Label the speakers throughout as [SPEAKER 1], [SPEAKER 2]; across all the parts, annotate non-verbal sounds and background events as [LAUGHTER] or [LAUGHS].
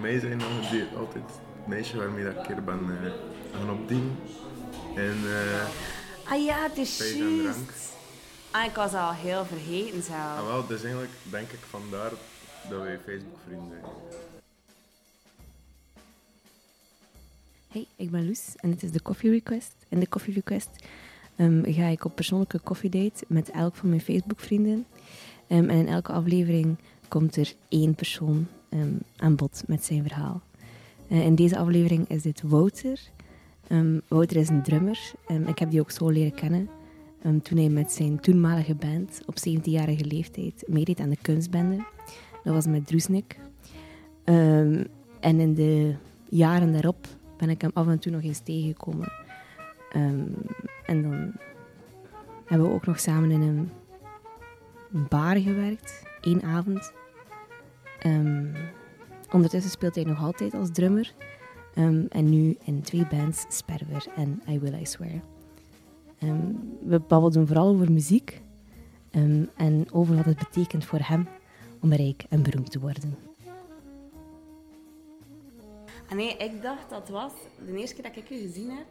[SPEAKER 1] mij zijn dan die, altijd het meisje waarmee dat ik hier ben eh, gaan opdienen. En eh,
[SPEAKER 2] Ah ja, het is
[SPEAKER 1] Feest en drank.
[SPEAKER 2] juist. Ah, ik was al heel vergeten
[SPEAKER 1] ah,
[SPEAKER 2] zelf.
[SPEAKER 1] wel, dus eigenlijk denk ik vandaar dat wij Facebook vrienden zijn.
[SPEAKER 2] Hey, ik ben Loes en dit is de Coffee Request. In de Coffee Request ehm, ga ik op persoonlijke koffiedate met elk van mijn Facebook-vrienden. Ehm, en in elke aflevering komt er één persoon ehm, aan bod met zijn verhaal. Eh, in deze aflevering is dit Wouter. Ehm, Wouter is een drummer. Ehm, ik heb die ook zo leren kennen ehm, toen hij met zijn toenmalige band op 17-jarige leeftijd meedeed aan de kunstbende. Dat was met Droesnik. Ehm, en in de jaren daarop ben ik hem af en toe nog eens tegengekomen. Ehm, en dan hebben we ook nog samen in een bar gewerkt, één avond. Ehm, ondertussen speelt hij nog altijd als drummer. Ehm, en nu in twee bands, Sperwer en I Will I Swear. Ehm, we babbelden vooral over muziek ehm, en over wat het betekent voor hem om rijk en beroemd te worden. Ah nee, ik dacht dat was. De eerste keer dat ik je gezien heb,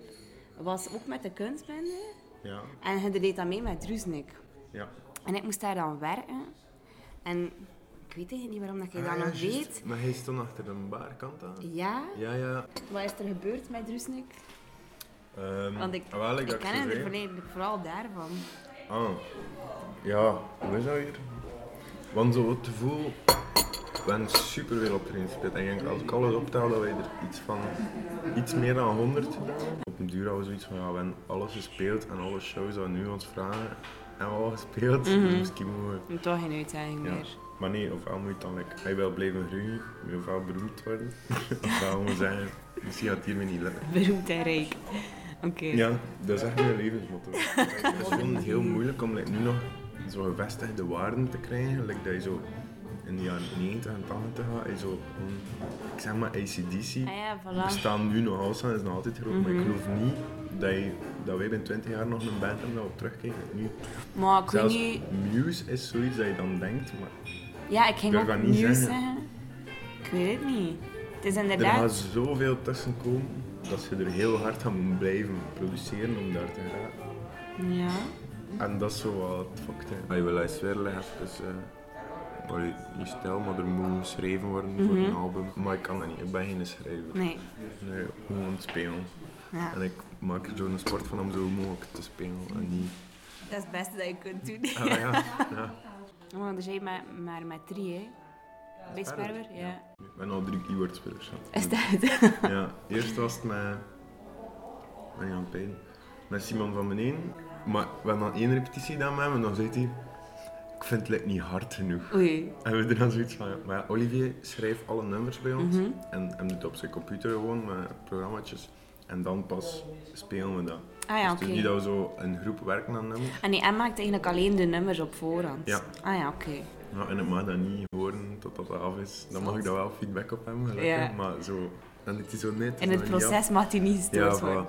[SPEAKER 2] was ook met de kunstbende.
[SPEAKER 1] Ja,
[SPEAKER 2] En je deed dat mee met Drusnik.
[SPEAKER 1] ja.
[SPEAKER 2] En ik moest daar dan werken. En ik weet eigenlijk niet waarom dat je dat
[SPEAKER 1] Ah, ja,
[SPEAKER 2] nog
[SPEAKER 1] juist.
[SPEAKER 2] weet.
[SPEAKER 1] Maar hij stond achter een bar, kan dat?
[SPEAKER 2] Ja?
[SPEAKER 1] Ja, ja.
[SPEAKER 2] Wat is er gebeurd met Drusnik?
[SPEAKER 1] Ehm,
[SPEAKER 2] Want ik,
[SPEAKER 1] ah, wel,
[SPEAKER 2] ik
[SPEAKER 1] dacht
[SPEAKER 2] ken
[SPEAKER 1] zo
[SPEAKER 2] hem er
[SPEAKER 1] zei.
[SPEAKER 2] volledig- vooral daarvan.
[SPEAKER 1] Ah, ja, hoe is dat weer? Want zo het gevoel, we hebben super veel optredens gespeeld. En ik denk, als ik alles optel, dat wij er iets van, iets meer dan 100 gedaan hebben. Op een duur hadden we zoiets van, ja, we hebben alles gespeeld en alle shows dat nu ons vragen, hebben we al gespeeld. Dus misschien moeten we...
[SPEAKER 2] En toch geen uitdaging
[SPEAKER 1] Ja.
[SPEAKER 2] meer. [LAUGHS]
[SPEAKER 1] Maar nee, ofwel moet je dan, like, hij wil blijven groeien, wil je ofwel beroemd worden. [LAUGHS] ofwel moet je zeggen, misschien gaat het hiermee niet lukken.
[SPEAKER 2] Beroemd en rijk. Oké.
[SPEAKER 1] Ja, dat is echt mijn
[SPEAKER 2] [LAUGHS]
[SPEAKER 1] levensmotto. Het is gewoon heel moeilijk om like, nu nog zo gevestigde waarden te krijgen. Like dat je zo in de jaren 90 en 80 gaat, je zo, gewoon, ik zeg maar ACDC,
[SPEAKER 2] Ah ja, voilà. Mhm.
[SPEAKER 1] bestaan nu nog altijd, is nog altijd groot, maar ik geloof niet dat, je, dat wij binnen 20 jaar nog een band hebben dat we op terugkijken. Nu,
[SPEAKER 2] Maar ik weet
[SPEAKER 1] zelfs
[SPEAKER 2] niet...
[SPEAKER 1] Muse is zoiets dat je dan denkt, maar
[SPEAKER 2] Ja, ik ging
[SPEAKER 1] durf
[SPEAKER 2] ook
[SPEAKER 1] dat
[SPEAKER 2] nieuws
[SPEAKER 1] niet
[SPEAKER 2] zeggen.
[SPEAKER 1] zeggen.
[SPEAKER 2] Ik weet het niet. Het is
[SPEAKER 1] er
[SPEAKER 2] inderdaad...
[SPEAKER 1] gaat zoveel tussen komen dat ze er heel hard aan moeten blijven produceren om daar te gaan.
[SPEAKER 2] Ja.
[SPEAKER 1] En dat is zo wat het fucked hè. Ah, Je wil eens weer leggen, dus... niet stel, maar er moet geschreven worden voor een album. Maar ik kan dat niet, ik ben geen schrijver.
[SPEAKER 2] Mhm. Nee.
[SPEAKER 1] Nee, gewoon spelen.
[SPEAKER 2] Ja.
[SPEAKER 1] En ik maak er zo'n sport van om zo mogelijk te spelen en niet...
[SPEAKER 2] Dat is het beste dat je kunt doen.
[SPEAKER 1] Ah,
[SPEAKER 2] [LAUGHS]
[SPEAKER 1] ja. ja.
[SPEAKER 2] Want er zijn maar, maar met drie, hè? Bij Sperwer, ja. [LAUGHS]
[SPEAKER 1] Ik ben al drie keyboardspelers. ja.
[SPEAKER 2] Is dat het? [LAUGHS]
[SPEAKER 1] Ja, eerst was het met... Ben je aan het pijn? Met Simon van Beneden. Maar we hebben dan één repetitie gedaan met hem en dan zei hij... Ik vind het like, niet hard genoeg.
[SPEAKER 2] Oei.
[SPEAKER 1] En we doen dan zoiets van, ja, maar ja, Olivier schrijft alle nummers bij ons
[SPEAKER 2] Mhm.
[SPEAKER 1] en, en doet het op zijn computer gewoon met programmaatjes. En dan pas spelen we dat.
[SPEAKER 2] Ah ja,
[SPEAKER 1] dus het
[SPEAKER 2] oké.
[SPEAKER 1] is niet dat we zo in groep werken aan nummers.
[SPEAKER 2] En nee, en maakt eigenlijk alleen de nummers op voorhand.
[SPEAKER 1] Ja.
[SPEAKER 2] Ah ja, oké.
[SPEAKER 1] Ja, en ik mag dat niet horen totdat dat af is. Dan mag ik daar wel feedback op hebben, gelukkig.
[SPEAKER 2] Ja.
[SPEAKER 1] Maar zo, dan doet hij zo net.
[SPEAKER 2] In het proces mag die niet
[SPEAKER 1] Ja,
[SPEAKER 2] gestoord
[SPEAKER 1] voilà.
[SPEAKER 2] worden.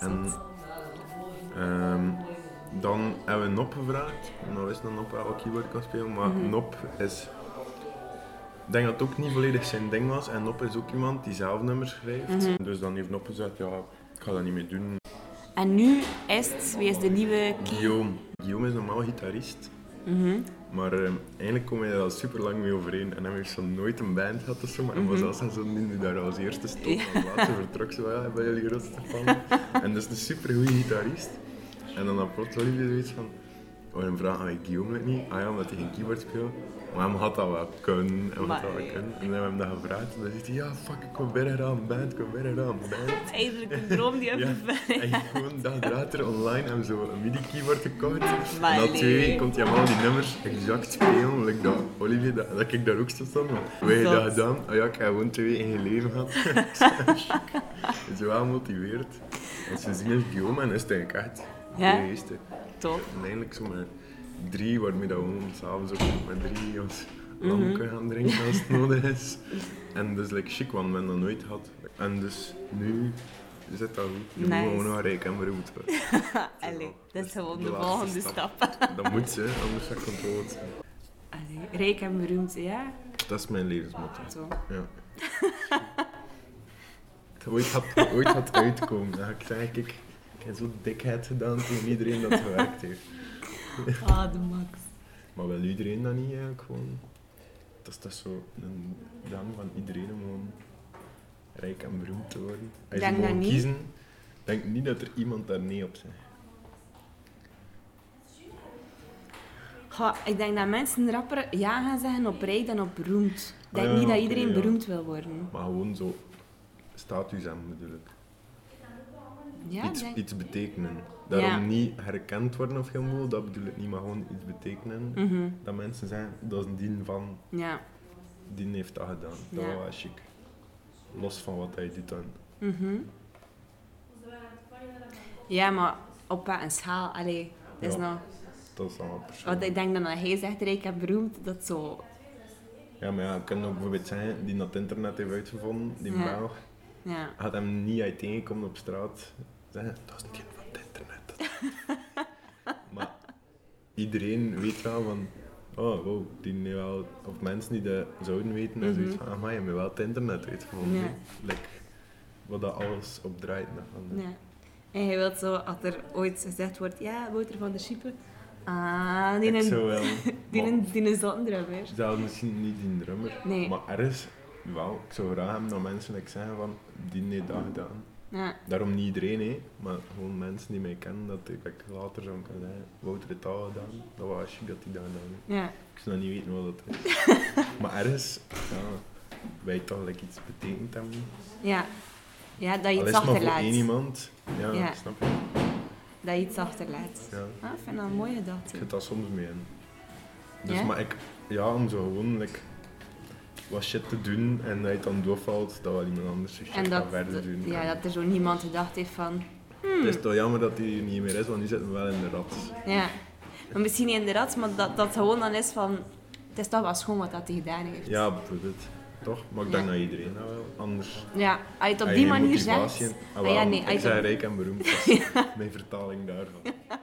[SPEAKER 1] En ehm, dan hebben we Nop gevraagd. Nou is dat Nop wel keyboard kan spelen, maar Nop is... Ik denk dat het ook niet volledig zijn ding was. En Nop is ook iemand die zelf nummers schrijft. Dus dan heeft Nop gezegd, ja, ik ga dat niet meer doen.
[SPEAKER 2] En nu is het, wie is de nieuwe key?
[SPEAKER 1] Guillaume. Guillaume is normaal gitarist. Maar ehm, eigenlijk komen we daar al super lang mee overeen. En hij heeft zo nooit een band gehad of zo. Maar hij was als een zo'n die daar als eerste stond. En later vertrok ze wel bij jullie grootste fan. en dat is een super goede gitarist. En dan had plots wel iedereen zoiets van. "Oh, Waarom vragen wij Guillaume het niet? Ah ja, omdat hij geen keyboard speelt. Maar hem had dat wel kunnen. Hem had
[SPEAKER 2] Maar-
[SPEAKER 1] dat wel kunnen. En dan hebben we hem dat gevraagd. En dan zegt hij: Ja, fuck, ik kom bijna aan een band. Ik kom bijna aan een band.
[SPEAKER 2] Eigenlijk een
[SPEAKER 1] [LAUGHS]
[SPEAKER 2] droom die
[SPEAKER 1] Ja,
[SPEAKER 2] even [LAUGHS] verder.
[SPEAKER 1] en gewoon een dag later online hebben we zo een midi-keyboard gekocht.
[SPEAKER 2] Maar
[SPEAKER 1] en na twee
[SPEAKER 2] nee.
[SPEAKER 1] weken komt hij allemaal die nummers exact spelen. Like dat Olivier, dat, dat ik daar ook zo stond. Maar hoe heb je
[SPEAKER 2] Zot.
[SPEAKER 1] dat gedaan? Oh ja, ik heb gewoon twee weken in je leven gehad. [LAUGHS] Het is wel gemotiveerd. Als we zien is Guillaume en is het eigenlijk echt
[SPEAKER 2] Ja?
[SPEAKER 1] de eerste.
[SPEAKER 2] Top.
[SPEAKER 1] En eindelijk zo met drie, waarmee dat we gewoon s'avonds ook met drie ons
[SPEAKER 2] Mhm.
[SPEAKER 1] lamke gaan drinken als het nodig is. En dus like chic, want men dat nooit had. En dus nu zit dat goed. Nu
[SPEAKER 2] Nice.
[SPEAKER 1] moeten we gewoon naar rijk en beroemd
[SPEAKER 2] [LAUGHS]
[SPEAKER 1] worden.
[SPEAKER 2] Allee, dat is gewoon
[SPEAKER 1] De
[SPEAKER 2] de
[SPEAKER 1] laatste
[SPEAKER 2] volgende
[SPEAKER 1] stap.
[SPEAKER 2] stap. [LAUGHS]
[SPEAKER 1] Dat moet ze, anders gaat ik controle zijn.
[SPEAKER 2] Allee, rijk en beroemd, ja?
[SPEAKER 1] [LAUGHS] Dat is mijn levensmotto.
[SPEAKER 2] Zo.
[SPEAKER 1] Ja. Het ooit had, ooit had uitkomen. Dan ga ik zeggen, kijk, ik heb zo'n dikheid gedaan tegen iedereen dat gewerkt heeft.
[SPEAKER 3] Ah, de max.
[SPEAKER 1] Maar wil iedereen dat niet eigenlijk gewoon? Dat is toch zo een dan van iedereen om gewoon rijk en beroemd te worden. Als
[SPEAKER 3] Denk
[SPEAKER 1] je
[SPEAKER 3] dat
[SPEAKER 1] mag
[SPEAKER 3] niet.
[SPEAKER 1] kiezen, denk ik niet dat er iemand daar nee op zegt.
[SPEAKER 3] Goh, ik denk dat mensen rapper ja gaan zeggen op rijk dan op beroemd. Ik denk
[SPEAKER 1] Oh Ja,
[SPEAKER 3] niet dat
[SPEAKER 1] oké,
[SPEAKER 3] iedereen
[SPEAKER 1] ja.
[SPEAKER 3] beroemd wil worden.
[SPEAKER 1] Maar gewoon zo status hebben bedoel ik.
[SPEAKER 3] Ja,
[SPEAKER 1] iets,
[SPEAKER 3] denk...
[SPEAKER 1] iets betekenen. Daarom
[SPEAKER 3] Ja.
[SPEAKER 1] niet herkend worden of heel veel, dat bedoel ik niet, maar gewoon iets betekenen.
[SPEAKER 3] Mhm,
[SPEAKER 1] Dat mensen zijn, dat is een dien van,
[SPEAKER 3] ja.
[SPEAKER 1] die heeft dat gedaan. Dat
[SPEAKER 3] Ja.
[SPEAKER 1] was chic. Los van wat hij doet dan.
[SPEAKER 3] Mhm. Ja, maar op wat een schaal. Allee, dat is
[SPEAKER 1] Ja.
[SPEAKER 3] nou...
[SPEAKER 1] Dat is allemaal persoonlijk.
[SPEAKER 3] Want ik denk dat als hij zegt rijk en beroemd, dat zo...
[SPEAKER 1] Ja, maar ja, ik kan ook bijvoorbeeld zijn, die dat het internet heeft uitgevonden, die
[SPEAKER 3] Ja.
[SPEAKER 1] Belg,
[SPEAKER 3] Ja.
[SPEAKER 1] had hem niet uit tegenkomen op straat. Zeggen, dat is niet van het internet. dat
[SPEAKER 3] [LAUGHS]
[SPEAKER 1] is niet." maar iedereen weet wel van, oh wow, die nu wel, of mensen die dat zouden weten, en zoiets van, amai, je hebt wel het internet uitgevonden.
[SPEAKER 3] Mhm. Ja.
[SPEAKER 1] hè." Like, wat dat alles op draait. nog aan, hè.
[SPEAKER 3] ja. En je wilt zo, als er ooit gezegd wordt, ja, Wouter van der Schiepen. Ah, die
[SPEAKER 1] Ik
[SPEAKER 3] een,
[SPEAKER 1] zou wel.
[SPEAKER 3] [LAUGHS] die
[SPEAKER 1] maar-
[SPEAKER 3] een, die een zandrubber.
[SPEAKER 1] Zelf misschien niet die drummer,
[SPEAKER 3] Nee.
[SPEAKER 1] maar ergens wel. Ik zou graag hebben dat mensen like, zeggen van, die heeft dat gedaan.
[SPEAKER 3] Ja.
[SPEAKER 1] Daarom niet iedereen, hè, maar gewoon mensen die mij kennen, dat ik like, later zou kunnen zeggen, Wouter het al gedaan, dat was chic dat hij dat gedaan heeft.
[SPEAKER 3] Ja.
[SPEAKER 1] Ik zou nog niet weten wat dat is.
[SPEAKER 3] [LAUGHS]
[SPEAKER 1] maar ergens, ja, wij toch like, iets betekend hebben.
[SPEAKER 3] Ja. Ja, dat je
[SPEAKER 1] Al
[SPEAKER 3] iets
[SPEAKER 1] is het maar voor één
[SPEAKER 3] achterlaat.
[SPEAKER 1] iemand. Ja,
[SPEAKER 3] Ja.
[SPEAKER 1] snap je?
[SPEAKER 3] Dat je iets achterlaat.
[SPEAKER 1] Ja.
[SPEAKER 3] Ah, ik vind dat een mooie gedachte.
[SPEAKER 1] Ik zit dat soms mee in. Dus,
[SPEAKER 3] Ja?
[SPEAKER 1] maar ik, ja, om zo gewoon like, wat shit te doen en dat je het dan doorvalt, dat wel iemand anders je shit
[SPEAKER 3] En dat,
[SPEAKER 1] gaat verder doen. En
[SPEAKER 3] ja, dat er zo niemand gedacht heeft van...
[SPEAKER 1] Het is toch jammer dat hij niet meer is, want nu zitten we wel in de rat.
[SPEAKER 3] Ja. Maar misschien niet in de rat, maar dat dat gewoon dan is van... Het is toch wel schoon wat dat hij gedaan heeft.
[SPEAKER 1] Ja, bijvoorbeeld. Toch? Maar ik denk
[SPEAKER 3] Ja.
[SPEAKER 1] dat iedereen dat wel. Anders.
[SPEAKER 3] Ja, als je het op
[SPEAKER 1] Als
[SPEAKER 3] die
[SPEAKER 1] je geen
[SPEAKER 3] manier
[SPEAKER 1] motivatie
[SPEAKER 3] zegt...
[SPEAKER 1] hebt-
[SPEAKER 3] Ah,
[SPEAKER 1] Ah, wel,
[SPEAKER 3] [LAUGHS] ja, nee, als
[SPEAKER 1] ik
[SPEAKER 3] je
[SPEAKER 1] zei
[SPEAKER 3] het op-
[SPEAKER 1] rijk en beroemd. dat is Mijn vertaling daarvan.